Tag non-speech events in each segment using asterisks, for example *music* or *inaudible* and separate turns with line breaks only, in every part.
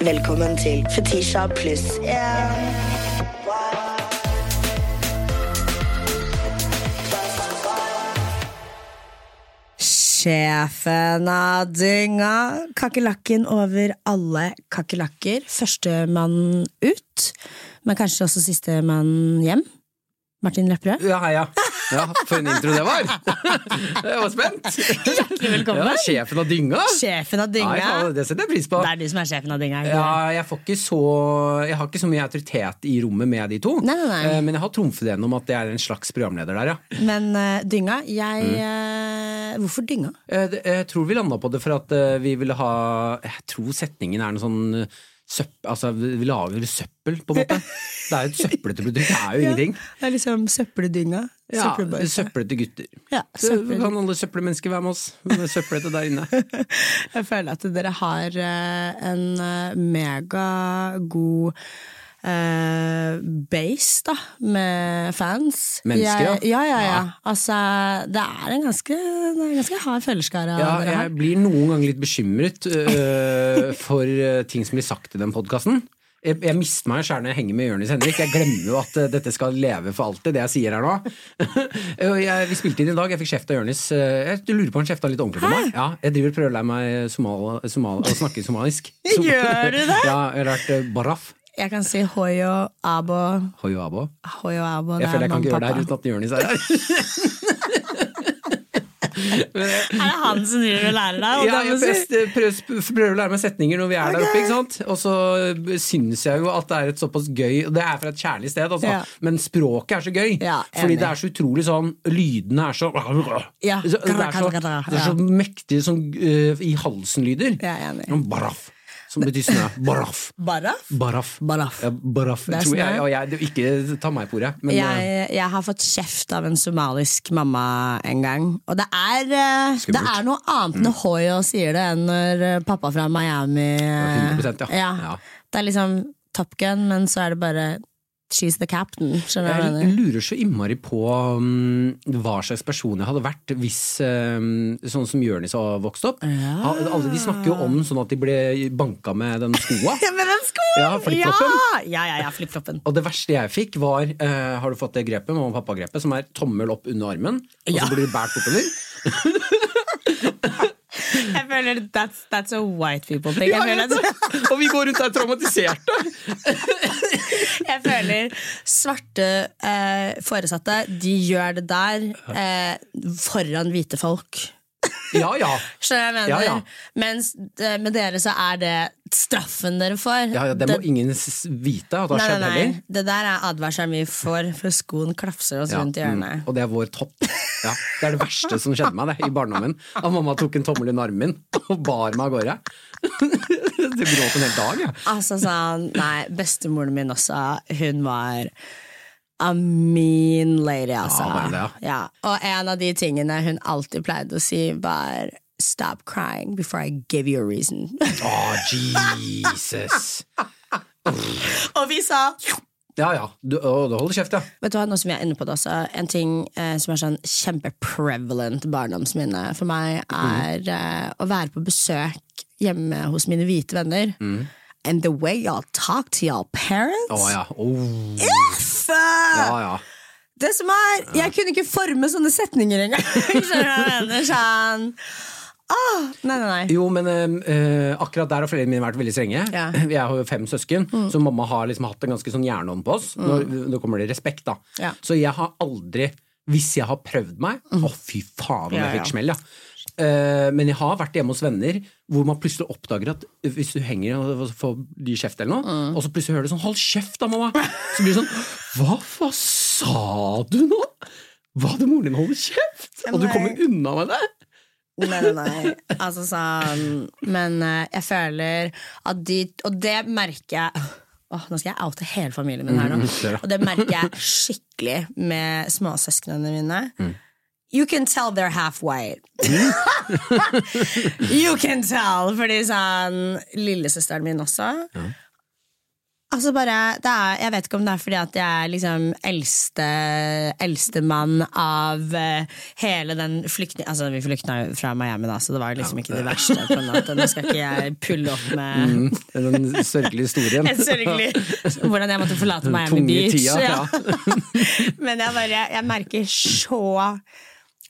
Velkommen til Fetisha pluss én. Sjefen av dynga. Kakerlakken over alle kakerlakker. Førstemann ut, men kanskje også sistemann hjem. Martin Lepperød.
Ja, heia. Ja, for en intro det var! Jeg var spent! Hjertelig
velkommen.
Ja, sjefen av dynga!
Sjefen av
Nei, faen,
dynga.
det setter jeg pris på.
Det er du som er sjefen av dynga. ikke
Ja, jeg, får ikke så, jeg har ikke så mye autoritet i rommet med de to,
Nei, nei, nei.
Eh, men jeg har trumfet gjennom at jeg er en slags programleder der, ja.
det? Men eh, dynga, jeg
Mm.
eh, Hvorfor dynga?
Eh, det- Jeg tror vi landa på det for at eh, vi ville ha Jeg tror setningen er noe sånn eh, søpp, altså, Vi lager søppel, på en måte. Det er jo et søplete produkt, det er jo ingenting.
Det er liksom søppeldynga.
Ja,
Søppelbøyta.
søplete gutter.
Ja,
Så
søppel.
kan alle søppelmennesker være med oss. med Søplete der inne.
Jeg føler at dere har eh, en eh, megagod eh, base, da, med fans.
Mennesker,
ja?
ja.
Ja, ja, ja.
Ja.
Altså, det er en ganske, det er en ganske hard følgerskare
Ja,
dere
jeg
har.
blir noen ganger litt bekymret øh, for øh, ting som blir sagt i den podkasten. Jeg, jeg mister meg sjæl når jeg henger med Jonis Henrik. Jeg glemmer jo at øh, dette skal leve for alltid, det jeg sier her nå. *laughs* Og jeg, vi spilte inn i dag, jeg fikk kjeft av Jonis. øh, Jeg lurer på om han kjefta litt ordentlig på meg. Ja, jeg driver og prøver å lære meg somal, somal, å snakke somalisk.
*laughs* Gjør du det?
Ja, jeg har lært øh, baraf.
Jeg kan si hoi og abo.
Hoi og abo.
Hoi og abo,
Jeg føler jeg kan ikke gjøre det her
pappa.
uten at Jonis er her.
Er det han som driver og lærer deg?
Ja,
Og
jeg
det må si-
prøver, prøver, prøver å lære meg setninger når vi er der oppe, ikke sant? Og så syns jeg jo at det er et såpass gøy Og det er fra et kjærlig sted, altså,
Ja.
men språket er så gøy.
Ja,
fordi
enig.
det er så utrolig sånn Lydene er så
Ja,
så, det, er så det er så mektige sånn øh, i halsen-lyder.
Jeg er enig.
Sånn Baraf, som betyr sånn snø. Baraf.
Baraf?
Baraf.
Baraf.
Ja, baraf.
er
Tror jeg,
snø.
ja, jeg, det- ikke ta meg på ordet, men øh,
jeg, jeg har fått kjeft av en somalisk mamma en gang. Og det er, eh, det
Skummelt.
er noe annet
Mm.
når Hoyo sier det, enn når eh, pappa fra Miami eh,
100% ja. Ja.
Det er liksom Top Gun, men så er det bare She's the captain. Skjønner du hva jeg
Jeg
mener?
lurer så innmari på mm, hva slags person jeg hadde vært hvis mm, Sånn som Jonis har vokst opp. Ha- Alle de snakker jo om sånn at de ble banka med den skoa.
*laughs* Ja, med den skoen!
Ja, flip-floppen.
Ja, ja, ja, flip-floppen.
Og det verste jeg fikk, var eh, Har du fått det grepet, mamma og pappa-grepet, som er tommel opp under armen, og
Ja.
så blir du
*laughs*
båret bortover?
Jeg føler that's, that's a white people thing.
Ja,
Jeg føler
jeg vet
at-
det. *laughs* og vi går rundt der
*laughs*
traumatiserte!
Jeg føler svarte eh, foresatte, de gjør det der eh, foran hvite folk.
Ja ja.
Skjønner du hva jeg
Ja,
mener?
ja.
Mens eh, med dere så er det straffen dere får.
ja, ja det må ingen s- vite at det har
nei,
skjedd
nei,
heller.
nei. Det der er advarselen vi får, for skoen klafser oss
Ja,
rundt i
mm,
hjørnet.
og det er vår topp. Ja, det er det verste som skjedde meg det, i barndommen. At mamma tok en tommel under armen og bar meg av gårde. Du gråt en hel dag, jeg.
Altså sånn, nei, Bestemoren min også, hun var a mean lady, altså.
Ja, var det det,
ja. Og en av de tingene hun alltid pleide å si, var Stop crying before I give you a reason. *laughs*
Å, Jesus.
og vi sa
Ja ja, du, å, du holder kjeft, ja.
Vet du hva, nå som vi er inne på det også, en ting eh, som er sånn kjempeprevalent barndomsminne for meg, er eh, å være på besøk hjemme hos mine hvite venner. And the way y'all talk to y'all parents
Å ja. Å,
F-
ja, ja.
Det som er, Jeg kunne ikke forme sånne setninger engang! Skjønner du hva jeg mener? Sånn. Åh, nei, nei, nei.
Jo, men eh, eh, akkurat der har foreldrene mine vært veldig strenge. *clears throat*
Ja. Mm.
Jeg har jo fem søsken, så mamma har liksom hatt en ganske sånn jernånd på oss. Når, nå kommer det respekt, da.
Ja. Mm.
Så jeg har aldri, hvis jeg har prøvd meg Å, fy faen om
Ja, ja.
jeg fikk smell, ja. Eh, men jeg har vært hjemme hos venner hvor man plutselig oppdager at hvis du henger og får de kjeft eller noe,
Mm.
og så plutselig hører du sånn 'hold kjeft da, mamma', så blir det sånn 'hva faen sa du nå?' Hva hadde moren din holdt kjeft? Og du
Nei.
kommer unna med det?
Nei, nei, nei. Altså sånn Men eh, jeg føler at de Og det merker jeg Åh, Nå skal jeg oute hele familien min her nå.
Mm, ser det.
Og det merker jeg skikkelig med småsøsknene mine.
Mm.
You can tell they're half white. you can tell! Fordi sånn Lillesøsteren min også. altså bare, det er, jeg vet ikke om det er fordi at jeg er liksom eldste eldstemann av eh, hele den flyktning... Altså, vi flykta jo fra Miami, da, så det var jo liksom ikke det verste. på en måte. Nå skal ikke jeg pulle opp med
Mm, Den sørgelige historien.
*laughs* en sørgelig Hvordan jeg måtte forlate Miami
tunge
Beach.
tida,
*laughs* Men jeg bare Jeg merker så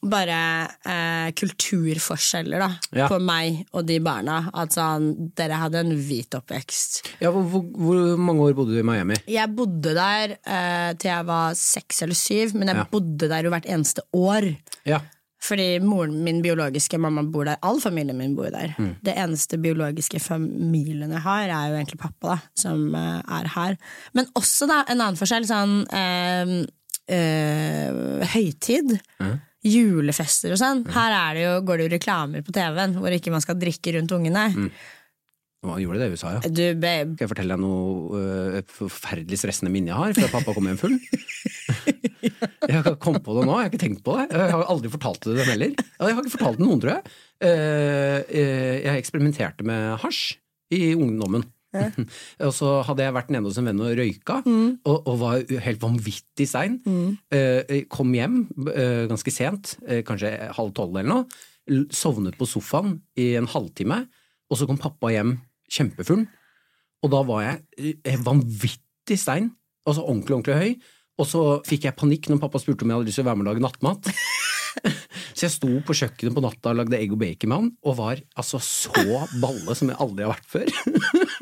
bare eh, kulturforskjeller da
Ja.
på meg og de barna. At sånn, dere hadde en hvit oppvekst.
Ja, hvor, hvor, hvor mange år bodde du i Miami?
Jeg bodde der eh, til jeg var seks eller syv, men jeg
Ja.
bodde der jo hvert eneste år.
Ja.
Fordi moren min biologiske mamma bor der, all familien min bor der.
Mm.
Det eneste biologiske familien jeg har, er jo egentlig pappa, da, som eh, er her. Men også da, en annen forskjell, sånn eh, eh, høytid.
Mm.
Julefester og sånn. Her er det jo, går det jo reklamer på TV-en hvor ikke man skal drikke rundt ungene.
Mm. Hva gjorde det i USA, ja?
Du, babe,
Skal jeg fortelle deg noe øh, et forferdelig stressende minne jeg har fra pappa kom hjem full? Jeg kom på det nå, jeg har ikke tenkt på det. Jeg har aldri fortalt det dem heller. Ja, Jeg har ikke fortalt det noen, tror jeg. Eh, eh, Jeg eksperimenterte med hasj i ungdommen. *laughs* Og så hadde jeg vært nede hos en venn og røyka, og, og var helt vanvittig sein. Eh, Kom hjem eh, ganske sent, eh, kanskje halv tolv eller noe. L- Sovnet på sofaen i en halvtime, og så kom pappa hjem kjempefull. Og da var jeg eh, vanvittig stein, altså ordentlig, ordentlig høy. Og så fikk jeg panikk når pappa spurte om jeg hadde lyst til å være med og lage nattmat. så jeg sto på kjøkkenet på natta og lagde egg og bacon med han, og var altså så balle som jeg aldri har vært før. *laughs*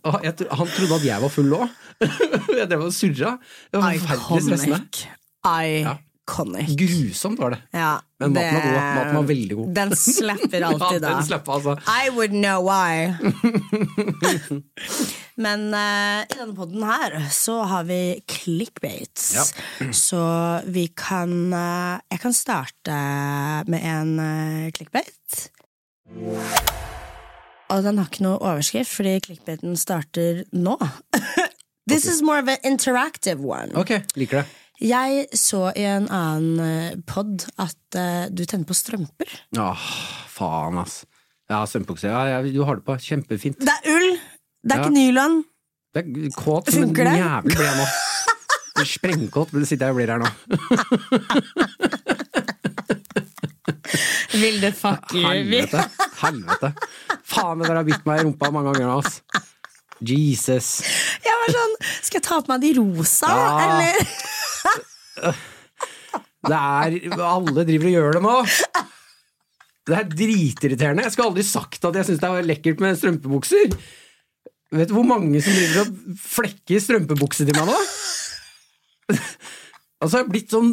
Og jeg, tro- han trodde at jeg var full òg. *laughs* jeg drev og surra. Det var forferdelig stressende.
iconic. Iconic.
Grusomt var det.
Ja,
Men maten
det-
var god. Maten var veldig god.
Den slapper alltid,
*laughs* ja,
da.
den slapp, altså.
I would know why. Men eh, i denne podden her så har vi clickbaits. Så vi kan eh, Jeg kan starte med en eh, clickbait. Og den har ikke noe overskrift, fordi clickbaiten starter nå. *laughs* This is more of an interactive one.
Ok, liker det.
Jeg så i en annen eh, pod at eh, du tenner på strømper.
Åh, faen, ass. Ja, strømpebukse. Ja, ja, du har det på. Kjempefint.
Det er ull! Det er
Ja.
ikke nylon.
Det er kåt som en
Funker det?
jævel ble jeg nå. Du er Sprengkåt blir- sitter jeg og blir her nå.
Vilde fuck
Helvete. Helvete. Faen, det der har bitt meg i rumpa mange ganger nå, ass. Jesus.
Jeg var sånn, skal jeg ta på meg de rosa,
Ja.
eller?
Det er Alle driver og gjør det nå. Det er dritirriterende. Jeg skulle aldri sagt at jeg syns det er lekkert med strømpebukser. Vet du hvor mange som driver og flekker strømpebukse til meg nå? *laughs* Altså, jeg har blitt sånn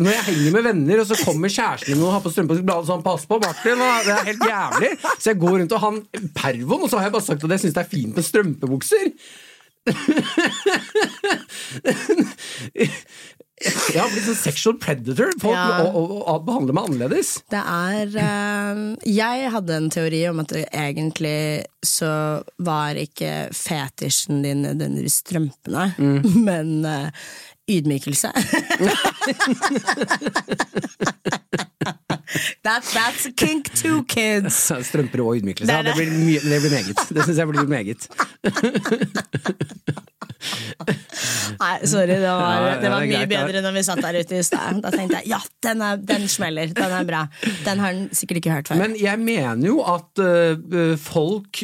Når jeg henger med venner, og så kommer kjæresten min og har på strømpebukse, bla, så han passer på Martin, og det er helt jævlig. Så jeg går rundt og han pervoen, og så har jeg bare sagt at jeg syns det er fint med strømpebukser. *laughs* Jeg har blitt sånn sexual predator. Folk
Ja.
og, og, og behandler meg annerledes.
Det er eh, Jeg hadde en teori om at det egentlig så var ikke fetisjen din nødvendigvis strømpene,
Mm.
*laughs* men eh,
*laughs*
ydmykelse. That, that's a kink too,
*laughs*
kids.
Strømper og ydmykelse.
Det
Ja,
er
det, blir mye, det blir meget. Det syns jeg blir meget.
Nei, sorry, det var,
Ja, ja,
det var
det er
mye
greit, det er-
bedre når vi satt der ute i stad. Da tenkte jeg ja, den, er, den smeller. Den er bra. Den har den sikkert ikke hørt før.
Men jeg mener jo at øh, øh, folk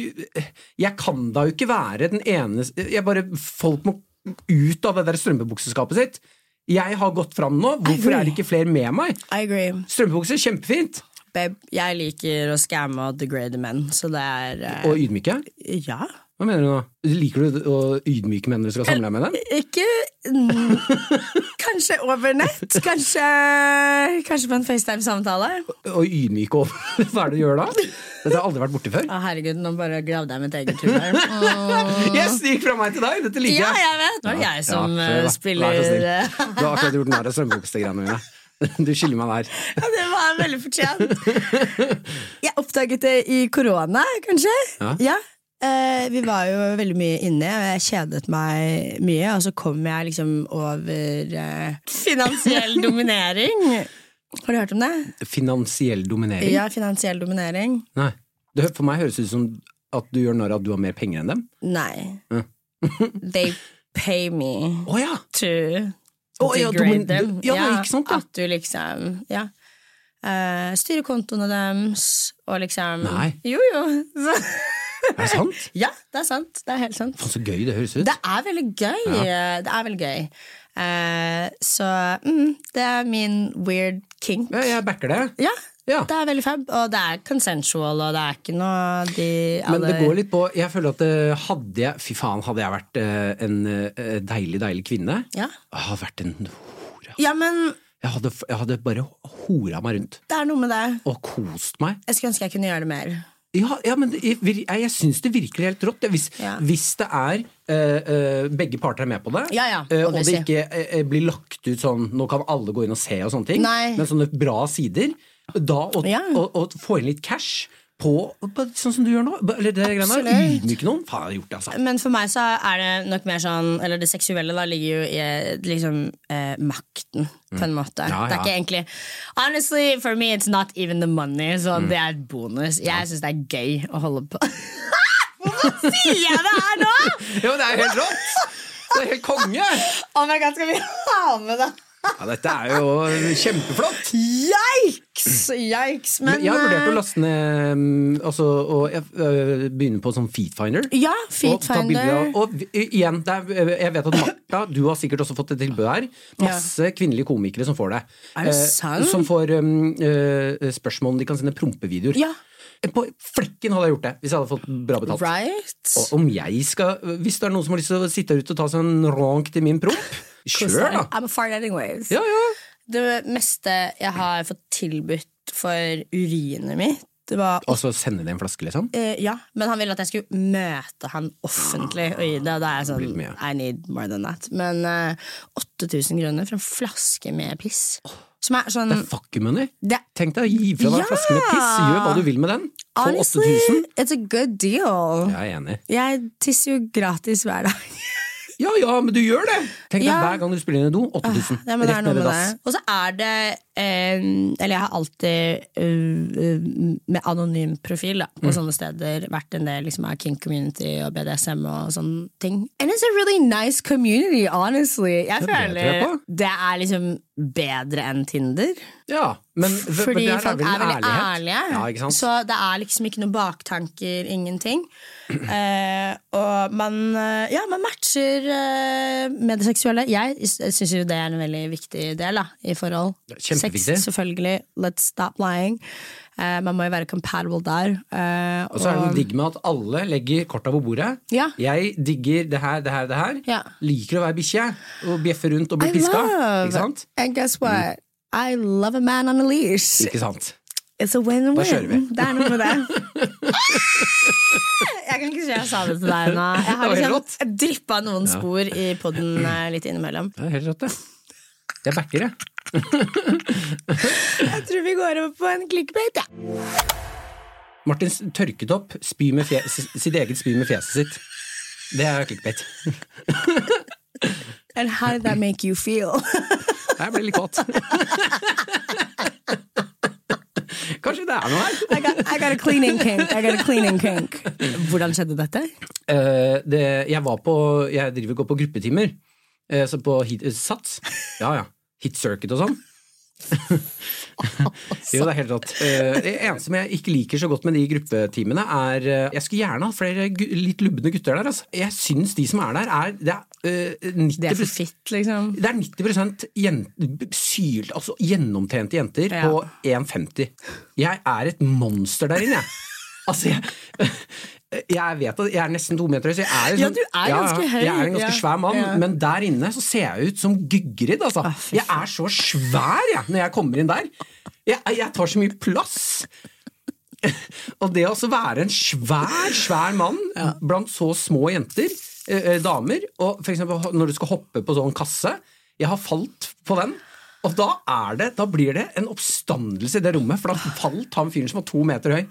Jeg kan da jo ikke være den eneste jeg bare, Folk må ut av det der strømpebukseskapet sitt. Jeg har gått fram nå. Hvorfor er det ikke flere med meg?
I agree.
Strømpebukser, kjempefint.
Babe, jeg liker å skamme og degrade menn, så det er eh,
Og ydmyke.
Ja.
Hva mener du nå? Liker du å ydmyke menn når du skal samle deg med dem?
Ikke
*laughs*
mm, Kanskje over nett. Kanskje, kanskje på en FaceTime-samtale.
Og ydmyke over *laughs* Hva er det du gjør da? Dette har jeg aldri vært borti før.
Å, herregud, nå bare gravde jeg mitt eget
*laughs*
hull her.
Yes, det gikk fra meg til deg! Dette liker
Ja,
jeg.
jeg vet! Nå er det jeg som
Ja,
eh,
vær-
spiller
vær så snill.
eh,
Du har akkurat gjort narr av strømpebuksegreiene mine. *laughs* Du skylder meg der.
*laughs* Ja, det var veldig fortjent.
*laughs*
Jeg oppdaget det i korona, kanskje.
Ja.
Eh, vi var jo veldig mye inne, og jeg kjedet meg mye. Og så kom jeg liksom over eh,
*laughs*
finansiell dominering. Har du hørt om det?
Finansiell dominering?
Ja, finansiell dominering.
Nei. Det hø- for meg høres det ut som at du gjør narr av at du har mer penger enn dem?
Nei.
*laughs*
They pay me
Å ja!
to
Å, ja, du- men
degrade
du-
them.
ja, ikke sant, ja.
At du liksom ja. Eh, styrer kontoene deres og liksom
Nei.
Jo, jo. *laughs* Så,
Er det sant?
ja, det er sant. Det er helt sant.
Faen, så gøy det høres ut.
Det er veldig gøy. Det er veldig gøy. Eh, så mm, det er min weird kink.
Ja, jeg backer det.
Ja,
Ja.
det er veldig fab, og det er consensual, og det er ikke noe de
Men det går litt på Jeg føler at eh, hadde jeg Fy faen, hadde jeg vært eh, en eh, deilig, deilig kvinne
Ja.
Jeg hadde vært en hore.
Ja, men
Jeg hadde, jeg hadde bare hora meg rundt
det er noe med det.
og kost meg.
Jeg skulle ønske jeg kunne gjøre det mer.
Ja, ja men det, jeg, jeg syns det virker helt rått. ja. Hvis,
Ja.
hvis det er eh, eh, begge parter er med på det,
Ja, ja,
eh, og det
obviously.
ikke eh, eh, blir lagt ut sånn nå kan alle gå inn og se og sånne ting,
Nei.
men sånne bra sider, da å
Ja.
å- å få inn litt cash på, på sånn som du gjør nå, eller det greiene der,
Absolutt.
ydmyke noen, faen, jeg har gjort det, altså.
Men for meg så er det nok mer sånn Eller det seksuelle da ligger jo i eh, liksom eh, makten, på en måte.
Mm. Ja,
Det er
ja.
ikke egentlig Honestly, for me it's not even the money, så
Mm.
det er et bonus. Jeg syns det er gøy å holde
*laughs*
på Hvorfor sier jeg det her nå?!
Ja, men det er helt rått! Det er helt konge!
*laughs* Oh my god, skal vi ha med det?
Ja, dette er jo kjempeflott!
Yikes! Yikes! Men,
Men jeg har vurdert å
eh,
laste ned mm, altså, og jeg, øh, begynne på sånn Feetfinder.
eh, Ja,
Og ta bilder
Feetfinder.
av- Og vi- igjen, det er, eh, jeg vet at Martha, du har sikkert også fått et tilbud her. Masse kvinnelige komikere som får det. Eh,
Er det sant?
Som får um, eh, spørsmål om de kan sende prompevideoer. Eh,
Ja.
På flekken hadde jeg gjort det, hvis jeg hadde fått bra betalt.
Right?
Og om jeg skal, Hvis det er noen som har lyst til å sitte her ute og ta seg en ronk til min promp, kjør, da!
I'm a fart anyways.
Ja, ja.
Det meste jeg har fått tilbudt for urinet mitt, det var
Og så sende det en flaske, liksom?
eh, Ja, men han ville at jeg skulle møte han offentlig og gi det. Og da er jeg
Det
sånn
blir mye.
I need more than that. Men eh, 8000 kroner for en flaske med piss. Som er sånn
Det er fuck you money!
det,
Tenk deg å gi fra deg en
Ja!
flaske med piss, gjør hva du vil med den. Få
Honestly,
8000.
it's a good deal.
Jeg er enig.
Jeg tisser jo gratis hver dag.
Ja ja, men du gjør det! Tenk deg
Ja. Ah,
hver gang du spiller inn i do, 8000.
Ja, men det er
Rett
noe med
ned i dass.
det. Og så er det eh, Eller jeg har alltid eh, eh, med anonym profil da,
Mm.
på sånne steder vært en del liksom, av King Community og BDSM og sånne ting. And it's a really nice community, honestly. Jeg
det tror jeg
føler
på.
det er liksom bedre enn Tinder.
Ja, men,
Fordi
men der
folk
vel
er
en
veldig ærlige.
ærlighet. Ja, ikke sant?
Så det er liksom ikke noen baktanker, ingenting. *clears throat* Eh, og man, eh, ja, man matcher eh, med det seksuelle. Jeg syns jo det er en veldig viktig del da, i forhold.
Kjempeviktig.
Sex, selvfølgelig. Let's stop lying. Eh, man må jo være compatible der. eh,
og så er det noe digg med at alle legger korta på bordet.
Ja.
Jeg digger det her, det her, det her.
Ja.
Liker å være bikkje og bjeffe rundt og bli
I
piska.
love,
Ikke sant? Mm.
And guess what? I love a man on a leash.
Ikke sant?
It's a win-win.
Da kjører vi.
Det er noe med det. *laughs* Ah! Jeg kan ikke si jeg sa det til deg nå. Jeg
Det var
har
helt
liksom dryppa noen spor i *laughs* poden litt innimellom.
Det er helt rått, det. Jeg backer det.
Jeg tror vi går over på en clickbait, jeg. Ja.
Martin s- tørket opp spy med fje- s- sitt eget spy med fjeset sitt. Det er clickbait.
And how did that make you feel?
Jeg ble litt kåt. *laughs* Kanskje det er noe her?
*laughs* I got, I got a cleaning kink. I got a cleaning kink. Hvordan skjedde dette?
Eh, det, jeg var på Jeg driver og går på gruppetimer. eh, så på hit, eh, Sats. Ja, ja. Hit circuit
*laughs*
og sånn. jo, det er helt rått. Eh, det eneste som jeg ikke liker så godt med de gruppetimene, er eh, Jeg skulle gjerne hatt flere gu- litt lubne gutter der. Altså. Jeg syns de som er der, er Det er, eh, 90
Det er for fitt, liksom.
det er 90 jent- sylt, altså gjennomtrente jenter
Ja.
på 1,50. Jeg er et monster der inne, jeg. Altså, jeg, jeg vet at jeg er nesten to meter høy, så jeg er jo
Ja,
sånn-
du er ganske høy,
Jeg er en ganske
ja.
svær mann,
Ja.
men der inne så ser jeg ut som Gygrid, altså.
Å, fy
jeg er så svær, jeg, når jeg kommer inn der. Jeg, jeg tar så mye plass. Og det å også være en svær, svær mann blant så små jenter, eh, eh, damer, og for eksempel ho- når du skal hoppe på sånn kasse Jeg har falt på den. Og da, er det, da blir det en oppstandelse i det rommet, for da falt han fyren som var to meter høy.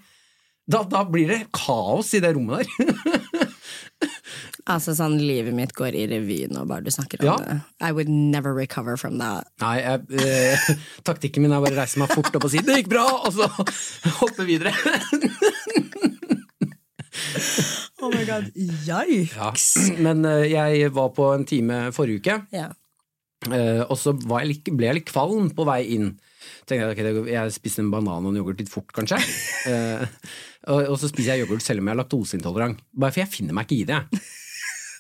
Da, da blir det kaos i det rommet der.
Altså sånn, Livet mitt går i revy nå, bare du snakker om
Ja.
det. I would never recover from that.
Nei, jeg, eh, *laughs* taktikken min er bare å reise meg fort opp *laughs*
*laughs*
og si 'det gikk bra', og så hoppe videre.
Oh my god. Jai.
Ja. Men eh, jeg var på en time forrige uke,
Ja.
eh, og så var jeg litt, ble jeg litt kvalm på vei inn. Tenkte Jeg ok, det går- jeg spiste en banan og en yoghurt litt fort,
*laughs*
kanskje. Eh, og, og så spiser jeg yoghurt selv om jeg er laktoseintolerant. Bare for jeg finner meg ikke i det. jeg.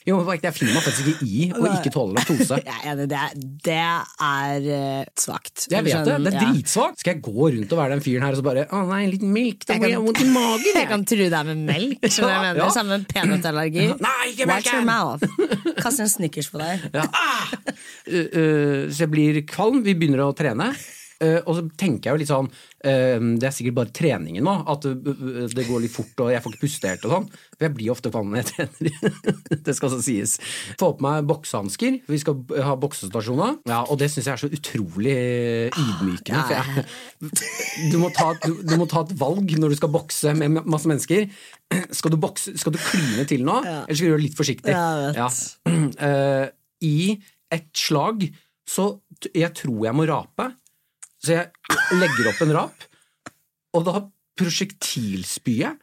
Jo, men Jeg finner meg faktisk ikke i å ikke tåle laktose.
*laughs* Jeg er enig, det er, det er eh, svakt.
Jeg vet det, det er
Ja.
dritsvagt. Skal jeg gå rundt og være den fyren her og så bare Å nei, en liten melk, da
Jeg
blir
kan-
jeg vondt i magen.
Jeg kan true deg med melk, skjønner du hva jeg
*laughs* Ja, ja.
mener. Samme med peanøttallergi.
*laughs* Nei, ikke
Watch your
melken!
mouth. Kast en Snickers på
*laughs*
deg.
Ja. Ah! Uh, uh, så jeg blir kvalm, vi begynner å trene. Uh, og så tenker jeg jo litt sånn uh, Det er sikkert bare treningen nå. At uh, uh, det går litt fort og jeg får ikke puste helt og sånn. For jeg blir ofte kvalm når jeg *laughs* trener. det skal så sies. Få på meg boksehansker. Vi skal uh, ha boksestasjoner. Ja, og det syns jeg er så utrolig ydmykende. For jeg, du, må ta, du, du må ta et valg når du skal bokse med masse mennesker. Skal du, bokse, skal du kline til nå, eller skal du gjøre det litt forsiktig?
Ja, jeg vet.
Eh, I et slag Så t- jeg tror jeg må rape Så jeg legger opp en rap Og da prosjektilspyet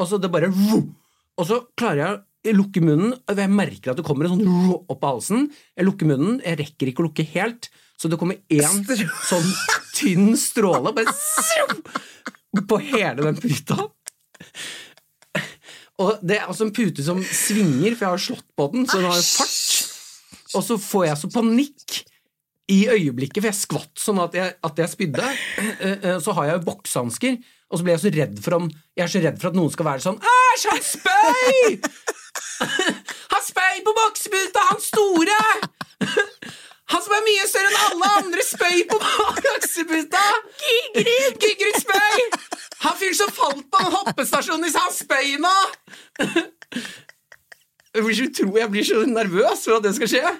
Altså det bare Og så klarer jeg å lukke munnen og Jeg merker at det kommer en sånn opp av halsen Jeg lukker munnen, jeg rekker ikke å lukke helt Så det kommer en sånn tynn stråle Bare På hele den puta og det er altså en pute som svinger, for jeg har slått på den, så den har jo fart. Og så får jeg så panikk i øyeblikket, for jeg skvatt sånn at jeg, at jeg spydde. Eh, eh, Så har jeg jo boksehansker, og så blir jeg så redd for om Jeg er så redd for at noen skal være sånn Æsj, han spøy! *laughs* Han spøy på bokseputa, han store! *laughs* Han som er mye større enn alle andre, spøy på bokseputa! Gigrid! Gigrid spøy! Han fyren som falt på den hoppestasjonen i han spøy nå! *laughs* Jeg blir så utro- jeg blir så nervøs for at det skal skje.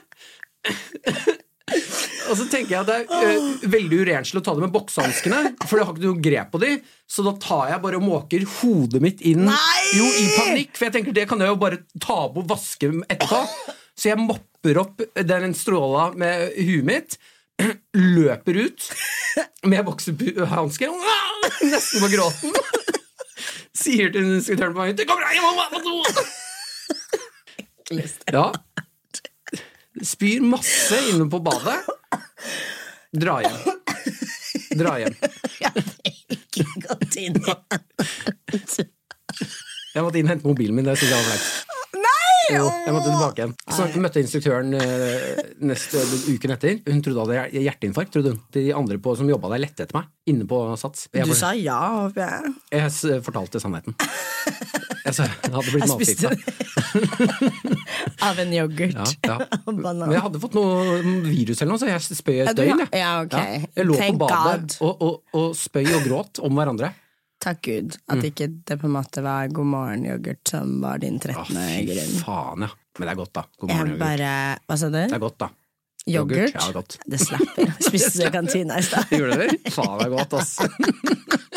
Og så tenker jeg at det er eh, veldig urenslig å ta det med boksehanskene, for jeg har ikke noe grep på de, så da tar jeg bare og måker hodet mitt inn
Nei!
Jo, i panikk, for jeg tenker det kan jeg jo bare ta på og vaske etterpå. Så jeg mopper opp eh, den stråla med huet mitt, *clears throat* løper ut med boksehansker *clears throat* nesten på gråten. *laughs* Sier til instruktøren på veien «Det kommer jeg må være på do!» Ja. Spyr masse inne på badet. Dra hjem. Dra hjem.
Ikke gått *laughs* inn igjen.
Jeg måtte inn og hente mobilen min. Det synes jeg var flaut.
Nei!
Jo, jeg måtte tilbake igjen. Så møtte jeg instruktøren eh, neste, uken etter. Hun trodde jeg hadde hjerteinfarkt. trodde hun. De andre på, som jobba der, lette etter meg. Inne på Sats. Jeg,
Du
bare-
sa ja, håper jeg.
jeg s- fortalte sannheten. Jeg, sa, jeg hadde
*laughs*
blitt
Jeg spiste
matpizza.
Av en
Ja,
yoghurt.
ja.
Og banan.
Men jeg hadde fått noe virus eller noe, så jeg spøy et
Ja, du-
døgn. jeg.
ja, ok.
Ja, Jeg lå
Thank
på
God.
badet og, og, og spøy og gråt om hverandre.
Takk Gud at ikke det på en måte var God morgen-yoghurt som var din 13.
Mm. Å,
grunn.
Ah, fy faen, ja. Men det er godt, da. God morgen,
Jeg
yoghurt.
bare Hva sa du?
Det er godt, da.
Yoghurt?
Ja, det er godt.
Det slapper.
*laughs*
Spiste du i kantina i stad?
Gjorde det? Faen, det er godt, ass.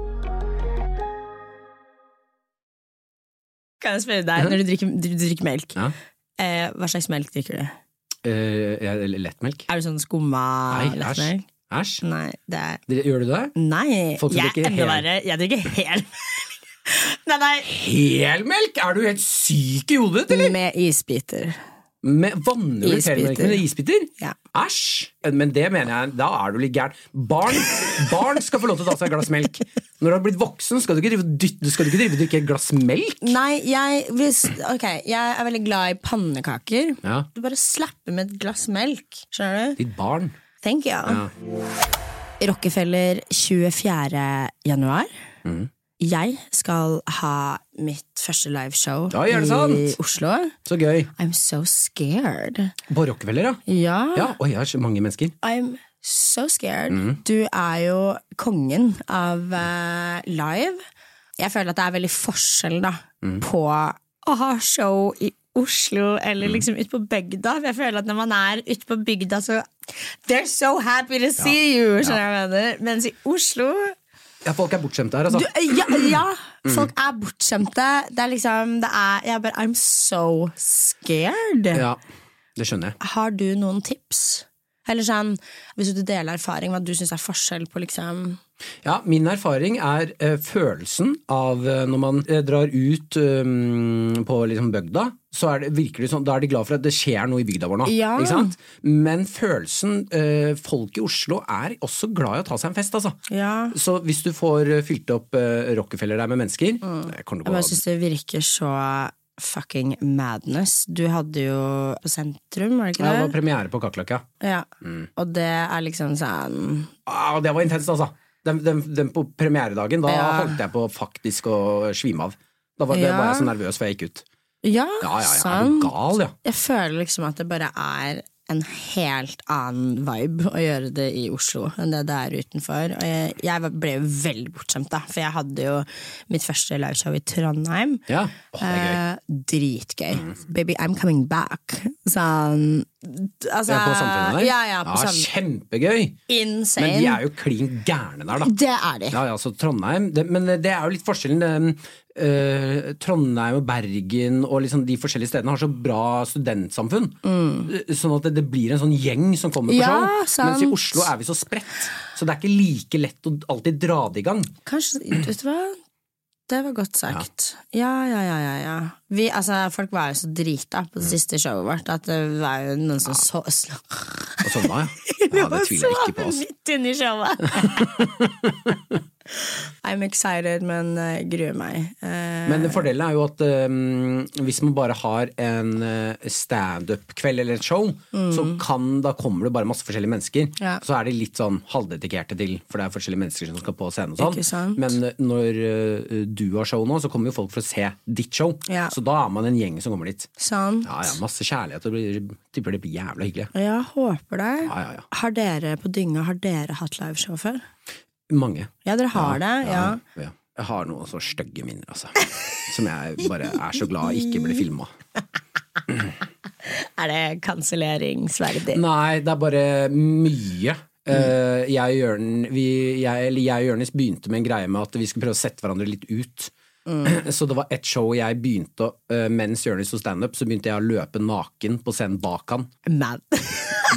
Kan jeg spørre deg, når du drikker, du drikker melk,
Ja.
eh, hva slags melk drikker du?
Eh, jeg- lettmelk?
Er du sånn skumma
Nei, æsj.
lettmelk?
Æsj.
Nei, det er
Dere- Gjør du det?
Nei,
Folk som
jeg
drikker
er enda
hel-
verre. Jeg drikker hel *laughs* Nei, nei.
Helmelk? Er du helt syk i hodet, ditt, eller?
Med isbiter.
Med vannrull
Isbiter.
helmelk med isbiter?
Ja.
Æsj! Men det mener jeg, da er du litt gæren. Barn, barn skal få lov til å ta seg et glass melk. Når du har blitt voksen, skal du ikke drive og dytte- skal du ikke drive og drikke et glass melk.
Nei, jeg, hvis, ok, jeg er veldig glad i pannekaker.
Ja.
Du bare slapper med et glass melk. Skjønner du?
Ditt barn.
Thank you.
Ja.
Rockefeller 24. januar.
Mm.
Jeg skal ha mitt første liveshow
Oi, er det
i
sant?
Oslo.
Så gøy.
I'm so scared.
På Rockefeller, ja.
Ja,
Ja, Oi, jeg har så mange mennesker.
I'm so scared. Du er jo kongen av eh, live. jeg føler at det er veldig forskjell da, på å ha show i Oslo eller liksom ute på bygda. For jeg føler at når man er ute på bygda, så They're so happy to see you! Skjønner jeg hva jeg mener. Mens i Oslo
Ja, folk er bortskjemte her, altså.
du, ja, ja, folk er bortskjemte. Det er liksom det er, Jeg bare I'm so scared.
Ja, det skjønner jeg.
Har du noen tips? Eller sånn, Hvis du deler erfaring, hva du syns er forskjell på liksom
Ja, min erfaring er eh, følelsen av eh, når man eh, drar ut eh, på liksom bygda, så er det virkelig sånn, da er de glad for at det skjer noe i bygda vår nå.
Ja.
Ikke sant? Men følelsen eh, Folk i Oslo er også glad i å ta seg en fest, altså.
Ja.
Så hvis du får eh, fylt opp eh, Rockefeller der med mennesker
Mm.
det kommer
Jeg
til å
bare
gå
syns det virker så fucking madness. Du hadde jo på Sentrum, var det
Ja,
ikke
det var
det?
premiere på Kakerlakk, ja.
Ja.
Mm.
Og det er liksom sånn
Ah, det var intenst, altså. Den, den, den på premieredagen, da
Ja.
holdt jeg på faktisk å svime av. Da var, det,
Ja.
var jeg så nervøs før jeg gikk ut.
Ja,
Ja, ja, ja. Er
sant.
du gal, ja?
Jeg føler liksom at det bare er en helt annen vibe å gjøre det i Oslo enn det det er utenfor. Og jeg, jeg var- ble jo veldig bortskjemt, da, for jeg hadde jo mitt første liveshow i Trondheim.
Ja. Åh, det er gøy. Mm.
Eh, dritgøy. Baby, I'm coming back. Sånn altså,
Det er på samfunnet der?
Ja, ja, på samfunnet.
Kjempegøy!
Insane.
Men de er jo klin gærne der, da.
Det er de.
Ja, ja, så Trondheim det, Men det er jo litt forskjellen. det, eh, Trondheim og Bergen og liksom de forskjellige stedene har så bra studentsamfunn. Sånn at det, det blir en sånn gjeng som kommer
Mm.
på
Ja,
show. Mens
sant.
i Oslo er vi så spredt. Så det er ikke like lett å alltid dra det i gang.
Kanskje, vet du hva? Det var godt sagt. Ja, ja, ja, ja, ja. Vi, altså, folk var jo så drita
Mm.
på det siste showet vårt at det var jo noen som så
Og
*laughs*
sovna, ja. ja det tviler jeg ikke på. Altså.
Midt inni
*laughs*
showet. I'm excited, men eh, gruer meg. Eh,
Men fordelen er jo at øhm, hvis man bare har en øh, standup-kveld eller et show, så kan, da kommer det bare masse forskjellige mennesker.
Mm. Ja.
Så er de litt sånn halvdedikerte til, for det er forskjellige mennesker som skal på scenen. og
Ikke
sånn.
sant?
Men øh, når øh, du har show nå, så kommer jo folk for å se ditt show.
Ja.
Så da er man en gjeng som kommer dit.
sant?
Ja, ja, Masse kjærlighet, og det blir, tipper det blir jævla hyggelig.
Jeg håper det.
Ja, ja, ja.
Har dere på dynga har dere hatt liveshow før?
Mange.
Ja, dere har det. Ja.
ja. Jeg har noen så stygge minner, altså. Som jeg bare er så glad ikke ble filma.
Er det kanselleringsverdig?
Nei, det er bare mye.
Mm.
Eh, jeg, og Jørn, vi, jeg, eller jeg og Jørnis begynte med en greie med at vi skulle prøve å sette hverandre litt ut.
Mm.
*clears throat* Så det var et show jeg begynte å- eh, mens Jørnis sto standup, så begynte jeg å løpe naken på scenen bak han.
Men *laughs*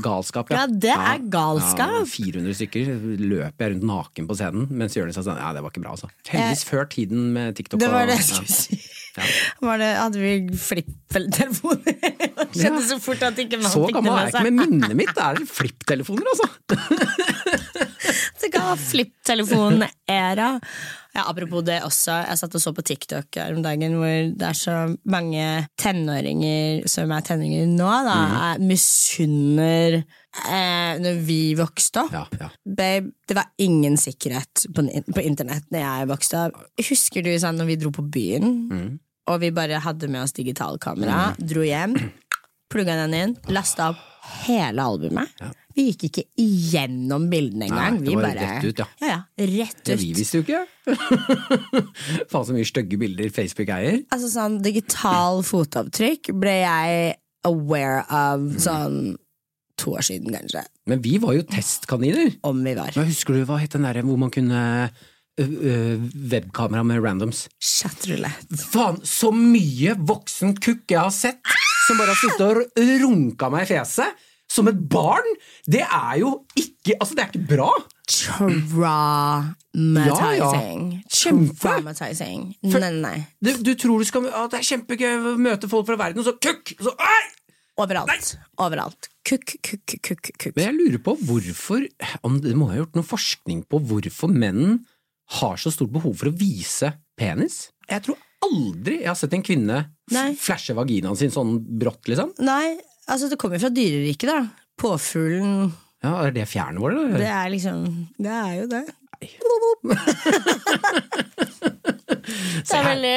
Galskap,
Ja, det er galskap.
Ja, 400 stykker løper jeg rundt naken på scenen, mens Jørnis sa sånn Nei, det var ikke bra, altså. Heldigvis før tiden med TikTok.
Eh, Det var
og-
det jeg skulle si. Var det, hadde vi flippeltelefoner? *laughs* Det skjedde så fort at ikke man
Så
fikk det
gammel er
med
jeg ikke,
seg.
men minnet mitt er flipptelefoner, altså!
Så ga flipptelefonera. Ja, apropos det også, jeg satt og så på TikTok her om dagen hvor det er så mange tenåringer som er tenåringer nå, da,
Mm.
er misunner eh, når vi vokste opp.
Ja, ja.
Babe, det var ingen sikkerhet på, n- på internett når jeg vokste opp. Husker du sånn, når vi dro på byen,
Mm.
og vi bare hadde med oss digitalkamera, dro hjem, plugga den inn, lasta opp hele albumet. Vi gikk ikke igjennom bildene engang.
det
Vi
var
bare
rett ut, ja.
Ja, ja, rett
Det vi
ut.
visste jo ikke. *laughs* Faen så mye stygge bilder Facebook eier.
Altså sånn digital fotavtrykk ble jeg aware av
Mm.
sånn to år siden, kanskje.
Men vi var jo testkaniner.
Om vi var.
Men husker du hva het den derre hvor man kunne ø, ø, Webkamera med randoms.
Chatroulette.
Faen, så mye voksen kukk jeg har sett som bare har sittet og r- runka meg i fjeset! Som et barn! Det er jo ikke Altså, det er ikke bra!
Traumatizing.
Kjempe.
Traumatizing. Nei, nei, nei.
Du, du tror du skal at det er kjempegøy å møte folk fra verden, og så kukk! Og så, «Ei!»
Overalt. Overalt. Kukk, kukk, kukk, kukk.
Men jeg lurer på hvorfor om Det må ha gjort noe forskning på hvorfor menn har så stort behov for å vise penis? Jeg tror aldri jeg har sett en kvinne f-
Nei.
flashe vaginaen sin sånn brått, liksom.
Nei, altså det kommer jo fra dyreriket, da. Påfuglen,
Ja, Er det fjærene våre,
det
eller?
er liksom Det er jo det.
*laughs*
det er veldig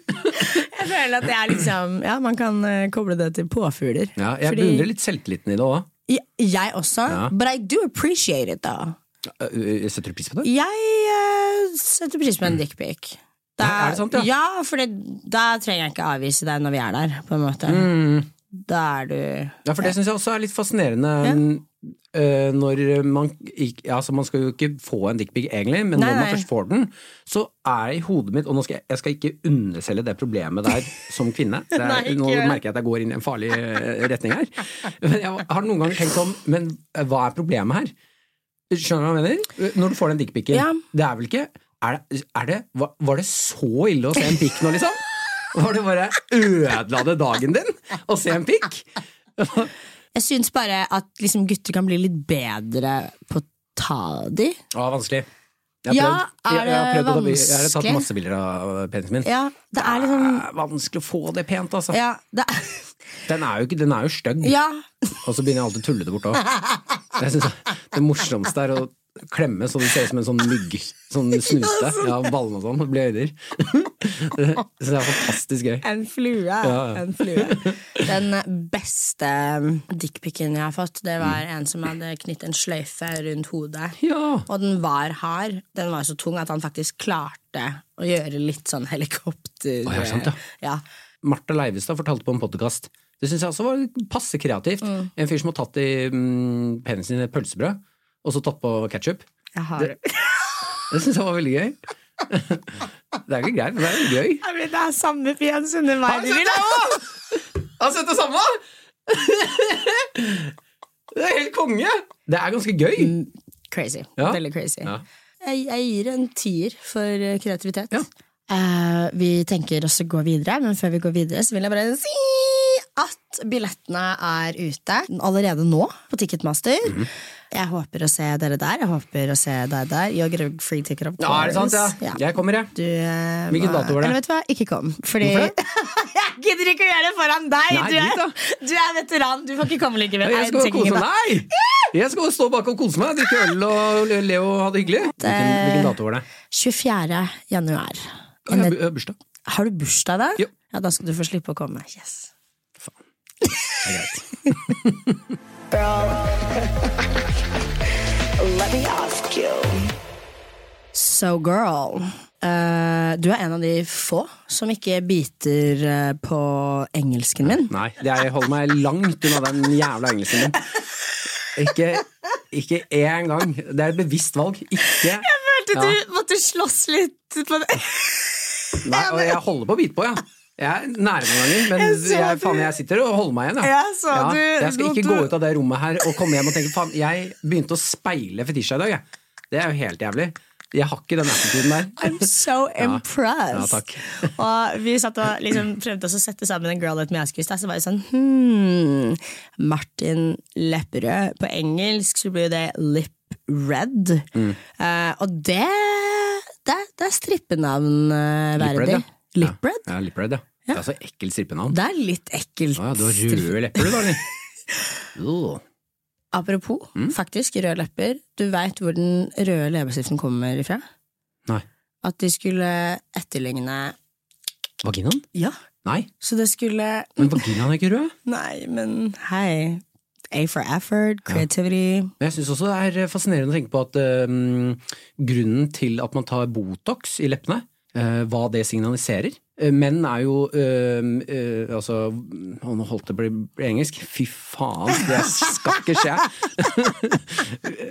*laughs* Jeg føler at det er liksom Ja, man kan eh, koble det til påfugler.
Ja, jeg
Fordi-
beundrer litt selvtilliten i det òg.
Ja, Jeg også,
Ja.
but I do appreciate it, da.
Setter du pris på det?
Jeg eh, setter pris på en dickpic.
Nei, er det sant, ja?
ja for da trenger jeg ikke avvise deg når vi er der, på en måte. Mm. Da er du
Ja, for det syns jeg også er litt fascinerende. eh, når man ikk- ja, altså Man skal jo ikke få en dickpic, egentlig, men
Nei,
når man
nei.
først får den, så er det i hodet mitt Og nå skal jeg, jeg skal ikke underselge det
*laughs*
problemet der som kvinne. Det er,
Nei, ikke
nå
gjør det.
merker jeg at jeg går inn i en farlig eh, retning her. Men jeg har noen ganger tenkt om Men eh, hva er problemet her? Skjønner du hva jeg mener? Eh, Når du får den dickpicen,
Ja.
det er vel ikke er det, er det, var, var det så ille å se en pikk nå,
*laughs*
liksom? Var det bare ødela det dagen din å se en pikk?
Jeg syns bare at liksom, gutter kan bli litt bedre på å ta de.
Ja, vanskelig.
Ja, er
Jeg- jeg har
det
prøvd å ta bil- Jeg har
vanskelig?
tatt masse bilder av penisen min.
Ja, det er liksom
Det er vanskelig å få det pent, altså.
Ja, det er,
Den er jo, ikke- den er jo stygg,
ja.
og så begynner jeg alltid å tulle det bort òg. Det, synes jeg- det morsomste er å klemme så det ser ut som en sånn mygg. Sånn snute. Ja, ballene og sånn. Det blir øyder. *laughs* Så det er fantastisk gøy.
En flue.
Ja, ja.
En flue. Den beste dickpicen jeg har fått, det var en som hadde knyttet en sløyfe rundt hodet.
Ja.
Og den var hard. Den var så tung at han faktisk klarte å gjøre litt sånn helikopter...
ja, sant, ja.
Ja.
Martha Leivestad fortalte på en podkast. Det syns jeg også var passe kreativt.
Mm.
En fyr som har tatt i mm, penisen sin i et pølsebrød, og så tatt på ketsjup.
Jeg har
Det syns jeg var veldig
*laughs*
gøy. Det er jo ikke greit, men det er jo gøy.
Det er samme fjes under meg.
du vil ha! Har sett det samme? Det er helt konge! Det er ganske gøy.
Mm, Crazy.
Ja.
Veldig crazy.
Ja.
Jeg, jeg gir en tier for eh, kreativitet.
Ja.
Eh, vi tenker også gå videre, men før vi går videre, så vil jeg bare si at billettene er ute allerede nå på Ticketmaster.
Mhm.
Jeg håper å se dere der. Jeg håper å se deg der. You're a free ticket, of
Ja, er det sant? Ja.
Ja.
Jeg kommer, jeg.
Du, eh,
Hvilken
hva-
dato var det?
Eller vet du hva, ikke kom. Fordi
Hvorfor
*laughs* Jeg gidder ikke å gjøre det foran deg!
Nei,
du,
dit
er, du er veteran, du får ikke komme likevel.
Jeg
Nei,
skal
tenker ikke
kose
på-
meg! Nei! Jeg skal stå bak og kose meg, drikke øl og le og ha det hyggelig. Hvilken,
eh,
hvilken dato var det?
24. januar.
Jeg har bu- jeg har bursdag.
Har du bursdag da?
Jo.
Ja, da skal du få slippe å komme. Yes.
Det er greit.
Let me ask you.
So girl, eh, du er en av de få som ikke biter eh, på engelsken min.
Nei, det er, jeg holder meg langt unna den jævla engelsken din. Ikke, ikke én gang. Det er et bevisst valg. Ikke Jeg
Følte du måtte slåss litt på det?
Nei, og jeg holder på å bite på, ja. Jeg er nære noen ganger, men jeg,
så du-
faen, jeg sitter og holder meg igjen. Ja.
Jeg så du-
jeg skal ikke
du-
gå ut av det rommet her og komme hjem og tenke faen, jeg begynte å speile fetisja i dag. Jeg. Det er jo helt jævlig. Jeg har ikke den attituden der.
I'm so impressed.
Ja, takk.
*laughs* og vi satt og liksom prøvde oss å sette sammen en girl at me ask you, så var det sånn hmm, Martin Lepperød. På engelsk så blir jo det Lip Red.
Mm.
Eh, og det, det, det er strippenavn eh,
Lip Red,
verdig.
ja.
Lip Red?
Ja, Lipred, ja. Det er så ekkelt strippenavn.
Det er litt ekkelt.
Å ja, du har røde lepper, du,
*laughs*
da. eller? Jo.
Apropos,
Mm.
faktisk, røde lepper. Du veit hvor den røde leppestiften kommer ifra?
Nei.
At de skulle etterligne
Vaginaen?
Ja,
Nei,
så det skulle
men vaginaen er ikke rød.
Nei, men hei. A for effort, creativity.
Men jeg syns også det er eh, fascinerende å tenke på at øhm, grunnen til at man tar Botox i leppene, øh, hva det signaliserer. Eh, Menn er jo øhm, øh, altså, å, Nå holdt det på å bli engelsk. Fy faen, det skal ikke skje!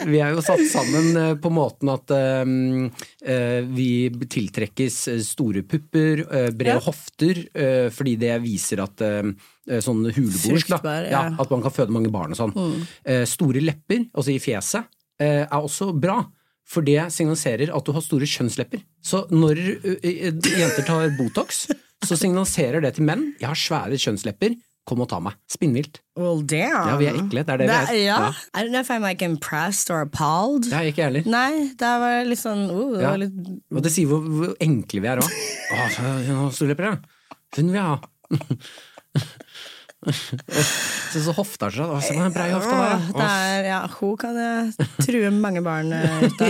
vi er jo satt sammen eh, på måten at øhm, eh, vi tiltrekkes eh, store pupper, eh, brede hofter, eh, fordi det viser at øhm, eh, Sånn hulebordsk, da.
Fruktbar,
Ja,
ja.
at man kan føde mange barn og sånn. Eh, store lepper, altså i fjeset, eh, er også bra. For det signaliserer at du har store kjønnslepper. Så når eh, eh, jenter tar Botox, så signaliserer det til menn jeg har svære kjønnslepper, kom og ta meg. Spinnvilt.
Well, damn.
Ja, vi er ekle. Det er det vi
Da-
er.
ja. I don't know if I'm like impressed or appalled.
Det er ikke jeg heller.
Nei, det var litt sånn oh, det
Ja.
var litt...
Og det sier hvor, hvor enkle vi er òg. Å, så- hun har store lepper, ja. Hun vil jeg ha. *laughs* Så, så hofta seg. Å, Se på den brei hofta der.
Åh,
ja.
det er, ja, hun kan eh, true mange barn eh, ute.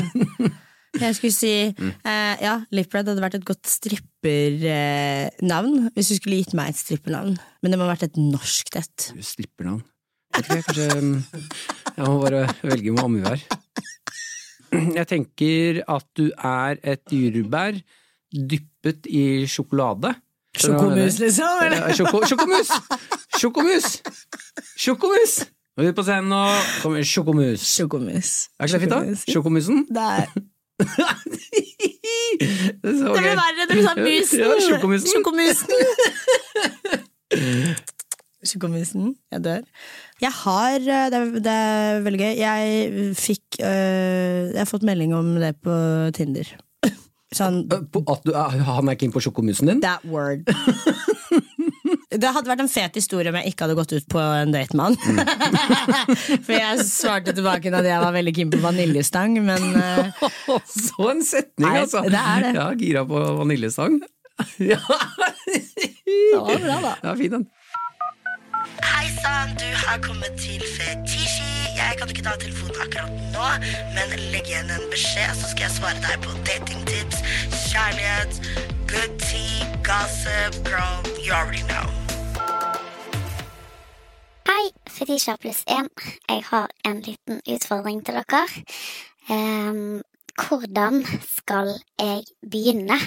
*laughs*
Jeg skulle si
Mm.
eh, ja, Lipred hadde vært et godt strippernavn hvis du skulle gitt meg et strippernavn. Men det må ha vært et norskt et.
Strippernavn. Vet ikke, kanskje um, Jeg må bare velge med omhu her. Jeg tenker at du er et jordbær dyppet i sjokolade. Skjønner du hva jeg mener?
Sjokomus, liksom? Eller?
Ja, Sjoko, sjokomus! Sjokomus! Sjokomus! Nå er vi på scenen og kommer sjokomus.
Sjokomus.
Er ikke det fint, da? Sjokomusen?
Det, er,
Det er så
det sånn
gøy.
ble verre når du sa musen!
*laughs* Ja, sjokomusen.
Sjokomusen. Sjokomusen. Jeg dør. Jeg har eh, Det er, det er veldig gøy. Jeg fikk eh, Jeg har fått melding om det på Tinder. *laughs* Sånn
På At du, er- han er keen på sjokomusen din?
that word. Det hadde vært en fet historie om jeg ikke hadde gått ut på en date med han. *laughs* For jeg svarte tilbake at jeg var veldig keen på vaniljestang, men eh,
*laughs* Så en setning,
Nei,
altså!
det er det.
Ja, gira på vaniljestang. *laughs* Ja,
det var bra, da.
ja fin den.
Hei sann, du har kommet til Fetisji. Jeg kan ikke ta telefonen akkurat nå, men legg igjen en beskjed, så skal jeg svare deg på datingtips, kjærlighet, good tea, gossip, girl, you already know.
Hei, Fetisha pluss 1. Jeg har en liten utfordring til dere. Ehm, hvordan skal jeg begynne?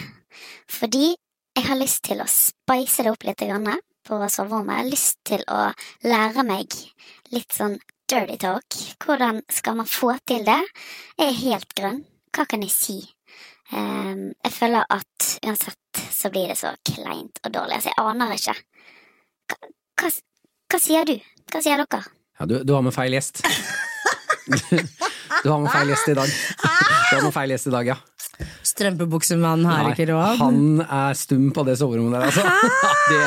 Fordi jeg har lyst til å spice det opp litt grann på soverommet. Jeg har lyst til å lære meg litt sånn dirty talk. Hvordan skal man få til det? Jeg er helt grønn. Hva kan jeg si? Ehm, jeg føler at uansett så blir det så kleint og dårlig. Altså, jeg aner ikke. Hva, hva, hva sier du? Hva sier dere?
Ja, du, du har med feil gjest. *laughs* Du har med feil gjest i dag. Du har med feil gjest i dag, ja.
Strømpebuksemann har
Nei,
ikke råd.
han er stum på det soverommet der, altså. *laughs* Det,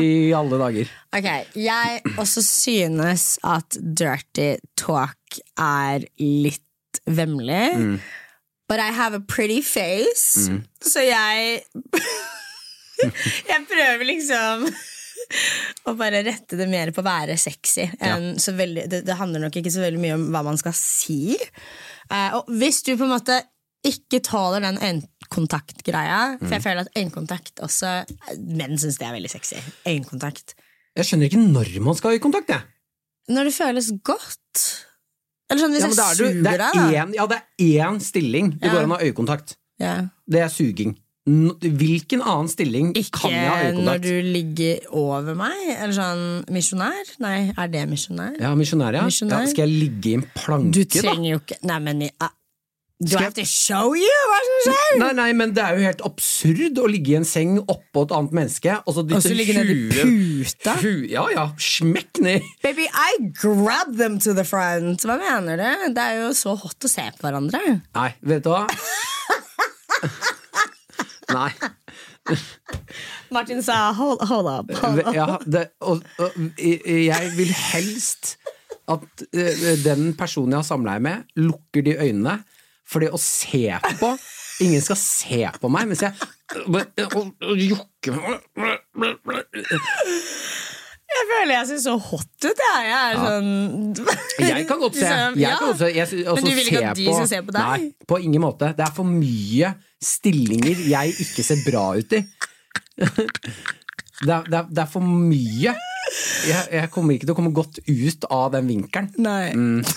I alle dager.
Ok, Jeg også synes at dirty talk er litt vemmelig. But I have a pretty face, så jeg *laughs* Jeg prøver liksom å bare rette det mer på å være sexy. Enn så veldig, det, det handler nok ikke så veldig mye om hva man skal si. Eh, og hvis du på en måte ikke tåler den øyekontaktgreia, for jeg føler at øyekontakt også Menn syns det er veldig sexy. Øyekontakt.
Jeg skjønner ikke når man skal ha øyekontakt, jeg.
Når det føles godt. Eller sånn hvis
Ja, men da
jeg
er du,
suger
det
deg,
er
da.
én, ja, det er én stilling det
Ja.
går an å ha øyekontakt.
Ja.
Det er suging. N- Hvilken annen stilling
Ikke
kan jeg ha
når
øyekontakt?
du ligger over meg. Eller sånn misjonær. Nei, er det misjonær?
Ja, misjonær, ja.
Misjonær.
ja. Skal jeg ligge i en
Du
planke, da?
trenger jo ikke Nei, men i- ah. Do
Skal
I
jeg-
have to show you hva som skjer?
Nei, nei, men det er jo helt absurd å ligge i en seng oppå et annet menneske, og så
Og så
dytte
ligger nedi puta.
Hu- Ja ja, smekk ned!
Baby, I grab them to the front. Hva mener du? Det er jo så hot å se på hverandre.
Nei, vet du hva?
*laughs*
Nei.
Martin sa hold, hold up. Hold up.
Ja, det, og, og, jeg- jeg vil helst at eh, den personen jeg har samleie med, lukker de øynene. Fordi å se på Ingen skal se på meg mens jeg eh, og- og jokker
Jeg føler jeg ser så hot ut, jeg. Jeg er sånn
Jeg kan
*laughs*
godt se.
Liksom,
Jeg
ja.
kan godt se. Jeg, sy- altså,
Men du vil ikke
se
at de skal se på deg?
Nei, på ingen måte. Det er for mye stillinger jeg ikke ser bra ut i. Det er, det er, det er for mye. Jeg, jeg kommer ikke til å komme godt ut av den vinkelen.
Nei.
Mm.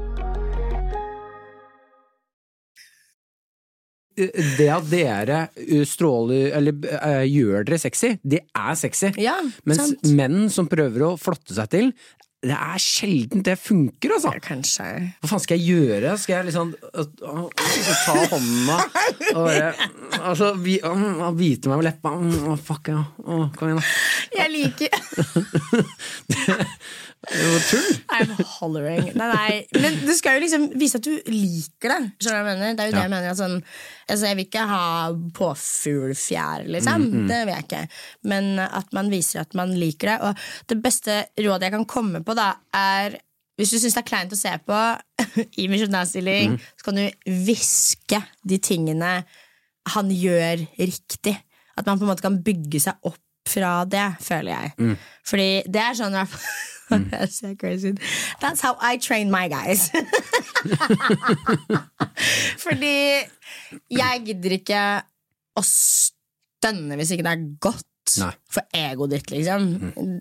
Det at dere uh, stråler Eller uh, gjør dere sexy, det er sexy.
Ja,
Mens
sant.
menn som prøver å flotte seg til, det er sjelden det funker, altså.
Kanskje.
Hva faen skal jeg gjøre? Skal jeg liksom øh, øh, øh, ta hånda og bare altså, vi, øh, øh, bite meg med leppa? Mm, Å, fuck, ja. Å, kom igjen, da.
Jeg liker
*laughs* Det var tull.
I'm hollering. Nei, nei. Men du skal jo liksom vise at du liker det. Skjønner du hva jeg mener? Det er jo det jeg mener. At sånn, altså jeg vil ikke ha påfuglfjær, liksom.
Mm,
Det vil jeg ikke. Men at man viser at man liker det. Og det beste rådet jeg kan komme på, da, er hvis du syns det er kleint å se på *laughs* i
Mm.
misjonærstilling, så kan du hviske de tingene han gjør riktig. At At man på en måte kan bygge seg opp fra det, føler jeg. Fordi det er sånn *laughs* Det ser crazy ut. That's how I train my guys. *laughs* Fordi jeg gidder ikke å stønne hvis ikke det er godt.
Nei.
For egoet ditt, liksom.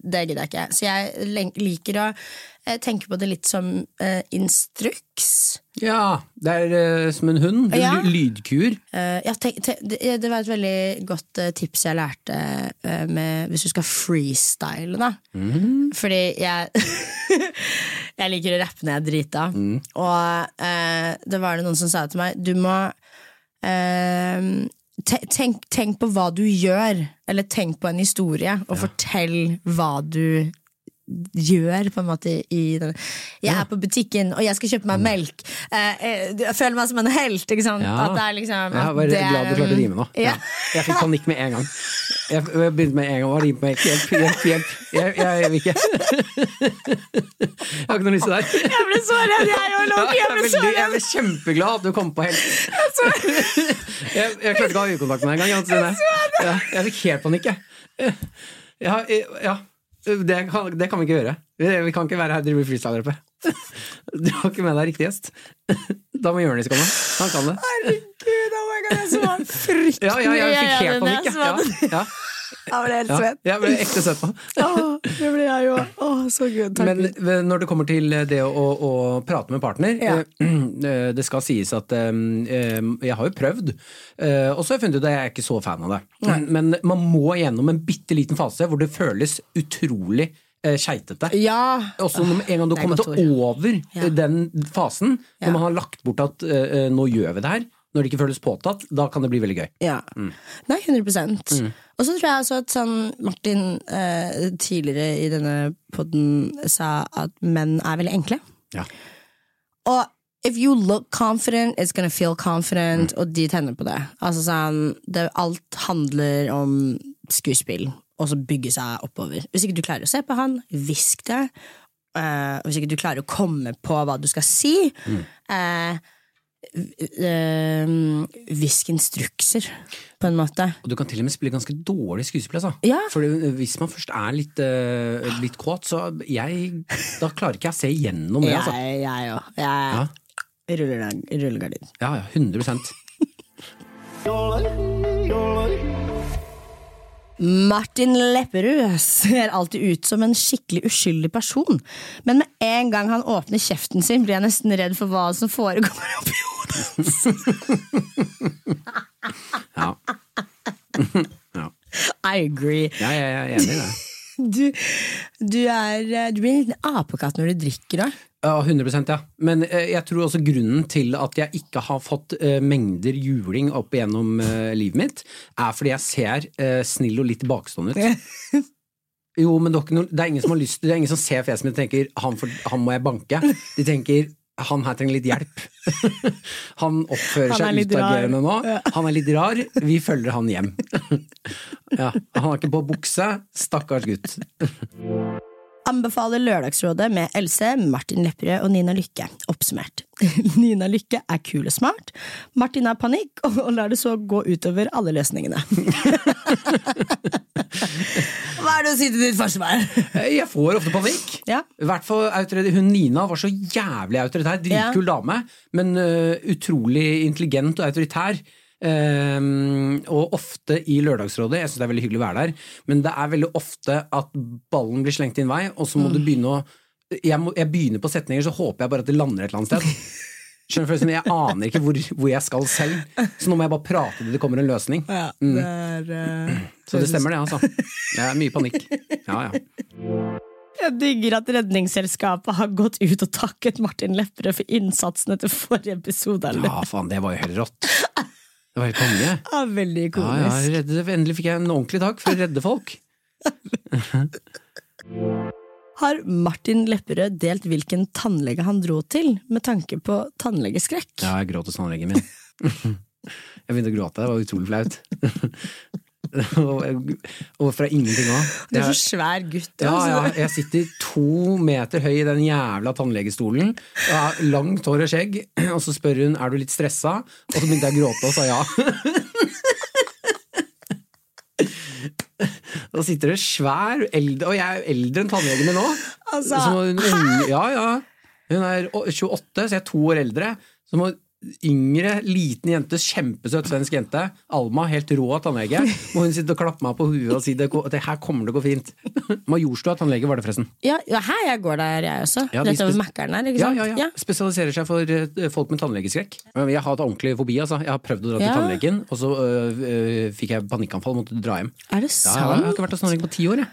Det gidder jeg ikke. Så jeg len- liker å eh, tenke på det litt som eh, instruks.
Ja, det er eh, som en hund. Du
Ja.
ly- Lydkur.
Eh, ja, tenk, tenk, det, det var et veldig godt eh, tips jeg lærte eh, med, hvis du skal freestyle. Da. Fordi jeg *laughs* Jeg liker å rappe når jeg er drita. Og eh, det var det noen som sa til meg Du må eh, te- tenk, tenk på hva du gjør, eller tenk på en historie, og fortell hva du gjør på en måte i den. Jeg er på butikken, og jeg skal kjøpe meg melk. Eh, eh, jeg føler meg som en helt. Ikke sant?
Ja.
At det er liksom
Jeg
at
var
det er,
glad du klarte å rime nå.
Ja.
Ja. Jeg fikk panikk med en gang. Jeg jeg begynte med en gang å rime med hjelp, hjelp, hjelp. Jeg, jeg, jeg vil ikke. Jeg har ikke noe lyst til det her.
Jeg ble så redd, jeg òg, Loki!
Jeg
Jeg
er,
ble så
veldig, jeg
redd!
er kjempeglad at du kom på helt.
Altså-
Jeg, jeg klarte ikke å ha øyekontakt med deg engang. Jeg, jeg, ja, jeg fikk helt panikk, jeg. Ja, jeg- ja. Det, kan, det kan vi ikke gjøre. Vi, vi kan ikke være her og drive freestyle oppe. Du har ikke med deg riktig gjest. Da må Jonis komme. Han kan det.
Herregud, oh my god, jeg så fryktelig
Ja, ja, jeg fikk helt
redd
panikk.
jeg.
Ja,
så-
ja,
Jeg ble helt
ja, ja.
*laughs* svett.
Jeg ble ekte søt nå.
Åh, det ble jeg òg. Åh, så gud. Takk.
Men
Gud.
eh, når det kommer til eh, det å, å, å prate med partner
Ja.
eh, *clears throat* eh, Det skal sies at eh, eh, jeg har jo prøvd, eh, og så har jeg funnet ut at jeg er ikke så fan av det. Men man må gjennom en bitte liten fase hvor det føles utrolig eh, keitete.
ja.
Også når, en gang du
det
har
er
kommet
godt ord,
over eh,
Ja.
den fasen,
Ja.
når man har lagt bort at eh, eh, nå gjør vi det her, når det ikke føles påtatt, da kan det bli veldig gøy.
Ja.
Mm.
Nei, 100 Og så tror jeg også at sånn Martin eh, tidligere i denne podden sa at menn er veldig enkle.
Ja.
Og if you look confident, it's gonna feel confident, og de tenner på det. Altså sånn, det. Alt handler om skuespill, og så bygge seg oppover. Hvis ikke du klarer å se på han, hvisk det. Eh, og hvis ikke du klarer å komme på hva du skal si, eh, v- eh, hvisk instrukser, på en måte.
Og du kan til og med spille ganske dårlig skuespill, altså.
Ja.
For hvis man først er litt, eh, litt kåt, så jeg Da klarer ikke jeg å se igjennom det,
Jeg
altså.
jeg òg.
Ja,
Jeg ruller rullegardin.
ja, ja 100
Martin Lepperød ser alltid ut som en skikkelig uskyldig person, men med en gang han åpner kjeften sin, blir jeg nesten redd for hva som foregår oppi hodet. *laughs*
Ja.
I agree.
Ja, jeg er enig i det.
Du, du, er, eh, du blir en liten apekatt når du drikker òg.
Ja, 100 ja. Men eh, jeg tror også grunnen til at jeg ikke har fått eh, mengder juling opp igjennom eh, livet mitt, er fordi jeg ser eh, snill og litt bakstående ut. Jo, men det er, ikke noe, det er ingen som har lyst til Det er ingen som ser fjeset mitt og tenker han, får- 'han må jeg banke'. De tenker 'han her trenger litt hjelp'. *laughs* Han oppfører
Han er
seg
litt rar.
utagerende nå. Han er litt rar. Vi følger han hjem. *laughs* Ja, han har ikke på bukse. Stakkars gutt.
Anbefaler Lørdagsrådet med Else, Martin Lepperød og Nina Lykke. Oppsummert. *laughs* Nina Lykke er kul og smart. Martin har panikk og lar det så gå utover alle løsningene. *laughs* Hva er det å si til ditt forsvar?
Eh, Jeg får ofte panikk.
Ja.
I hvert fall autoritær. Hun Nina var så jævlig autoritær. Dritkul dame, men ø, utrolig intelligent og autoritær. Ehm, og ofte i Lørdagsrådet, jeg syns det er veldig hyggelig å være der, men det er veldig ofte at ballen blir slengt din vei, og så må du begynne å jeg, må, jeg begynner på setninger, så håper jeg bare at det lander et eller annet sted. Skjønner du følelsen? Jeg aner ikke hvor, hvor jeg skal selv, så nå må jeg bare prate til det kommer en løsning.
det er, eh,
Så det stemmer, det, altså. Det er mye panikk. Ja, ja.
Jeg digger at Redningsselskapet har gått ut og takket Martin Lepperød for innsatsen etter forrige episode. av Lø-
Ja, faen, det var jo helt rått. Det var helt konge.
Ja, veldig
Ja, ja,
ikonisk.
redde, endelig fikk jeg en ordentlig dag for å redde folk.
Har Martin Lepperød delt hvilken tannlege han dro til, med tanke på tannlegeskrekk?
Ja, jeg gråt hos tannlegen min. Jeg begynte å gråte, det var utrolig flaut. Og- Og fra ingenting òg.
Du er så altså. svær gutt.
Ja, ja,
altså.
jeg sitter to meter høy i den jævla tannlegestolen. Jeg har langt hår og skjegg, og så spør hun er du litt stressa, og så begynte jeg å gråte og sa ja. Da sitter det svær eldre, Og jeg er jo eldre enn tannlegen min nå.
Altså,
Så må hun, unge, ja, ja. hun er å- 28, så jeg er to år eldre. Så må yngre, liten jente, kjempesøt svensk jente, Alma, helt rå tannlege, må hun sitte og klappe meg på huet og si det, går- det her kommer til å gå fint. Majorstua tannlege var det, forresten.
Ja, ja, her jeg går der, jeg også.
Ja, de
Rett over
spes-
Mækkern her, ikke
Ja,
sant?
ja, ja. Spesialiserer seg for eh, folk med tannlegeskrekk. Men Jeg har hatt ordentlig fobi. Altså. Jeg har prøvd å dra
Ja.
til tannlegen, og så eh, eh, fikk jeg panikkanfall og måtte dra hjem.
Er det
Ja,
sant?
jeg har- jeg har ikke vært hos tannlegen på ti år. Jeg.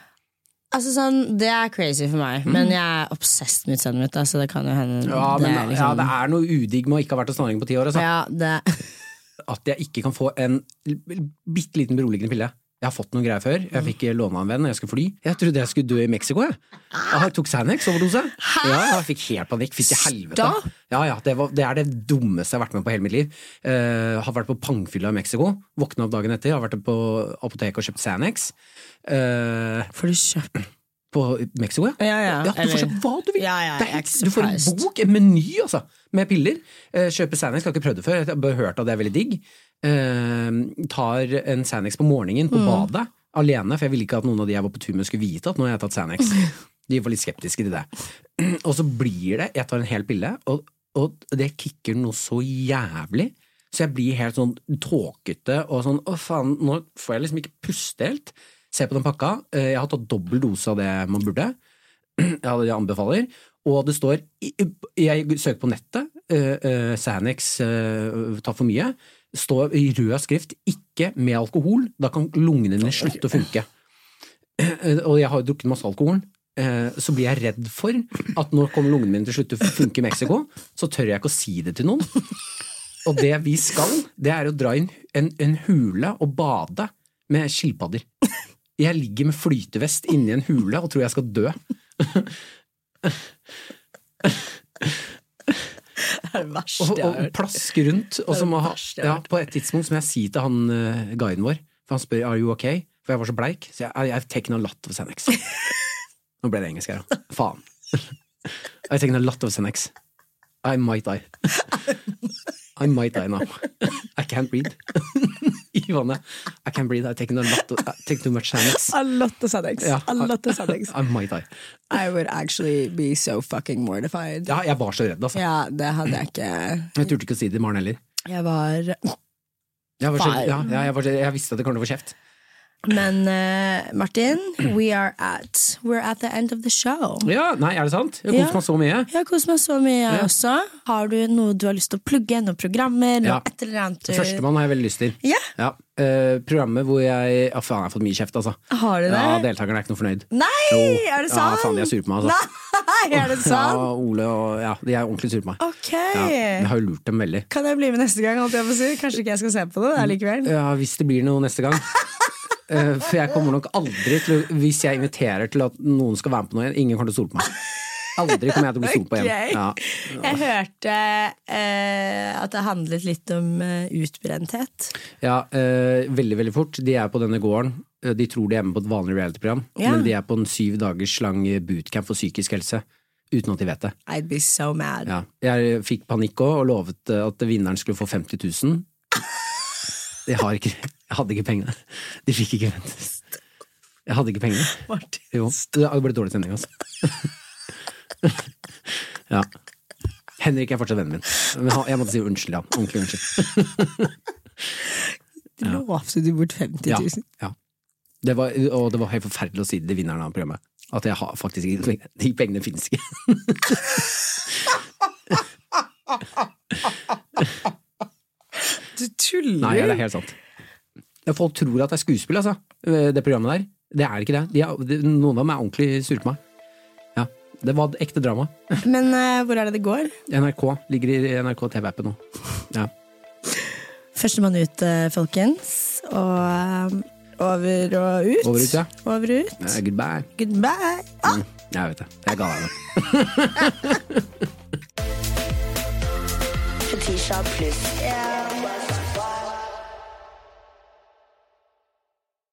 Altså sånn, Det er crazy for meg, men jeg er obsessed med utseendet mitt. da, Så det kan jo hende
Mm. Ja, men,
det er
ja,
liksom,
det er noe udigg med å ikke ha vært hos tannlegen på ti år. Altså.
ja,
*laughs*
det,
At jeg ikke kan få en bitte liten beroligende pille. Jeg har fått noen greier før. Jeg fikk eh, låne av en venn når jeg skulle fly. Jeg trodde jeg skulle dø i Mexico. Jeg, jeg tok Xanax overdose. Ja, jeg fikk helt panikk. Fikk til helvete.
Stopp.
Ja, ja, det, var, det er det dummeste jeg har vært med på hele mitt liv. Eh, har vært på pangfylla i Mexico. Våkna opp dagen etter, har vært på apoteket og kjøpt Xanax. Eh,
Får du kjøpt
på Mexico, ja.
Ja, ja,
ja du får
eller-
kjøpt hva du vil.
Ja, ja,
Det er
jeg er
helt-
ikke
du får en
surprised.
bok, en meny, altså, med piller. Eh, kjøper Xanax, jeg har ikke prøvd det før, jeg har bare hørt at det er veldig digg. Eh, tar en Xanax på morgenen på badet, alene, for jeg ville ikke at noen av de jeg var på tur med skulle vite at nå har jeg tatt Xanax. De var litt skeptiske til det. *clears throat* Og så blir det, jeg tar en hel pille, og, og det kicker noe så jævlig. Så jeg blir helt sånn tåkete og sånn å faen, nå får jeg liksom ikke puste helt. Se på den pakka. Eh, Jeg har tatt dobbel dose av det man burde. Jeg hadde det jeg anbefaler. Og det står i- Jeg søker på nettet. eh, eh, Xanax eh, tar for mye. Står i rød skrift 'ikke med alkohol'. Da kan lungene dine slutte å funke. Eh, Og jeg har jo drukket masse alkohol. eh, Så blir jeg redd for at nå kommer lungene mine til slutt til å funke i Mexico. Så tør jeg ikke å si det til noen. Og det vi skal, det er å dra inn en, en hule og bade med skilpadder. Jeg ligger med flytevest inni en hule og tror jeg skal dø.
Det er det verste
og,
jeg har
og
hørt.
plaske rundt. Og så må ha,
verste jeg har
ja, på et tidspunkt så må jeg si til han eh, guiden vår, for han spør are you okay? For jeg var så bleik. Så jeg I've taken a lot of
*laughs*
Xanax. Nå ble det engelsk her, ja. Faen. I've taken a lot of Xanax. I might die. I might die now. I can't breathe. *laughs* I vannet. I can't breathe. I've taken a lot of, I've taken too much Xanax.
*laughs* A lot of Sadex.
Ja.
A lot of Sadex.
I might die.
I would actually be so fucking mortified.
Ja, jeg var så redd, altså.
Ja, det hadde jeg ikke
Jeg turte ikke å si det til Maren heller.
Jeg var
Jeg, var så,
Faen.
ja, ja, jeg, var så, jeg visste at det kom til å få kjeft.
Men eh, Martin, we are at We're at the end of the show.
Ja, nei, er det sant? Jeg
Ja.
koser meg så mye.
Jeg har kost meg så mye, jeg
Ja.
også. Har du noe du har lyst til å plugge? Noen programmer? Noe
Ja.
et eller annet? du-
Førstemann har jeg veldig lyst til.
Eh, Ja.
Eh, programmet hvor jeg Å, faen, jeg har fått mye kjeft, altså.
Har du det?
Ja, Deltakerne er ikke noe fornøyd.
Nei,
Jo.
er det
Ja,
sant?
faen, de er sure på meg, altså.
Nei, er det sant?
Ja, Ole og Ja, de er ordentlig sure på meg.
Ok.
Ja, jeg har jo lurt dem veldig.
Kan jeg bli med neste gang? holdt Jeg på å si? Kanskje ikke jeg skal se på det da, likevel?
Ja, hvis det blir noe neste
*laughs*
gang. Eh, for jeg kommer nok aldri til å Hvis jeg inviterer til at noen skal være med på noe igjen, ingen kommer til å stole på meg. Aldri kommer
*laughs*
jeg til å bli stolt på
Ok.
igjen. Ja.
Jeg hørte eh, at det handlet litt om eh, utbrenthet.
Ja, eh, veldig, veldig fort. De er på denne gården. Eh, De tror de er med på et vanlig reality-program,
Ja.
men de er på en syv dagers lang bootcamp for psykisk helse. Uten at de vet det.
I'd be so mad.
Ja. Jeg fikk panikk òg, og lovet eh, at vinneren skulle få 50 000. Jeg, har ikke, jeg hadde ikke pengene. De fikk ikke vente. Jeg hadde ikke pengene.
Martin.
Jo. Det ble dårlig sending, altså. Ja. Henrik er fortsatt vennen min, men han- jeg måtte si unnskyld til ham. Ordentlig unnskyld.
Lovte du bort 50
Ja.
000?
ja. Det var, og det var helt forferdelig å si det til vinneren av programmet. At jeg har faktisk ikke de pengene. De pengene finnes ikke. *laughs*
Du tuller!
Nei, det er helt sant. Ja, Folk tror at det er skuespill, altså. eh, Det programmet der. Det er ikke det. De er, de, noen av dem er ordentlig sure på meg. Ja. Det var et ekte drama.
Men eh, hvor er det det går?
NRK ligger i NRK TV-appen nå. Ja.
Førstemann ut, eh, folkens. Og eh, over og ut.
Over og ut, ja.
Over og ut.
Eh, Goodbye. Mm,
Goodbye. Ah!
Jeg vet det. Jeg ga deg nå.
Fetisha pluss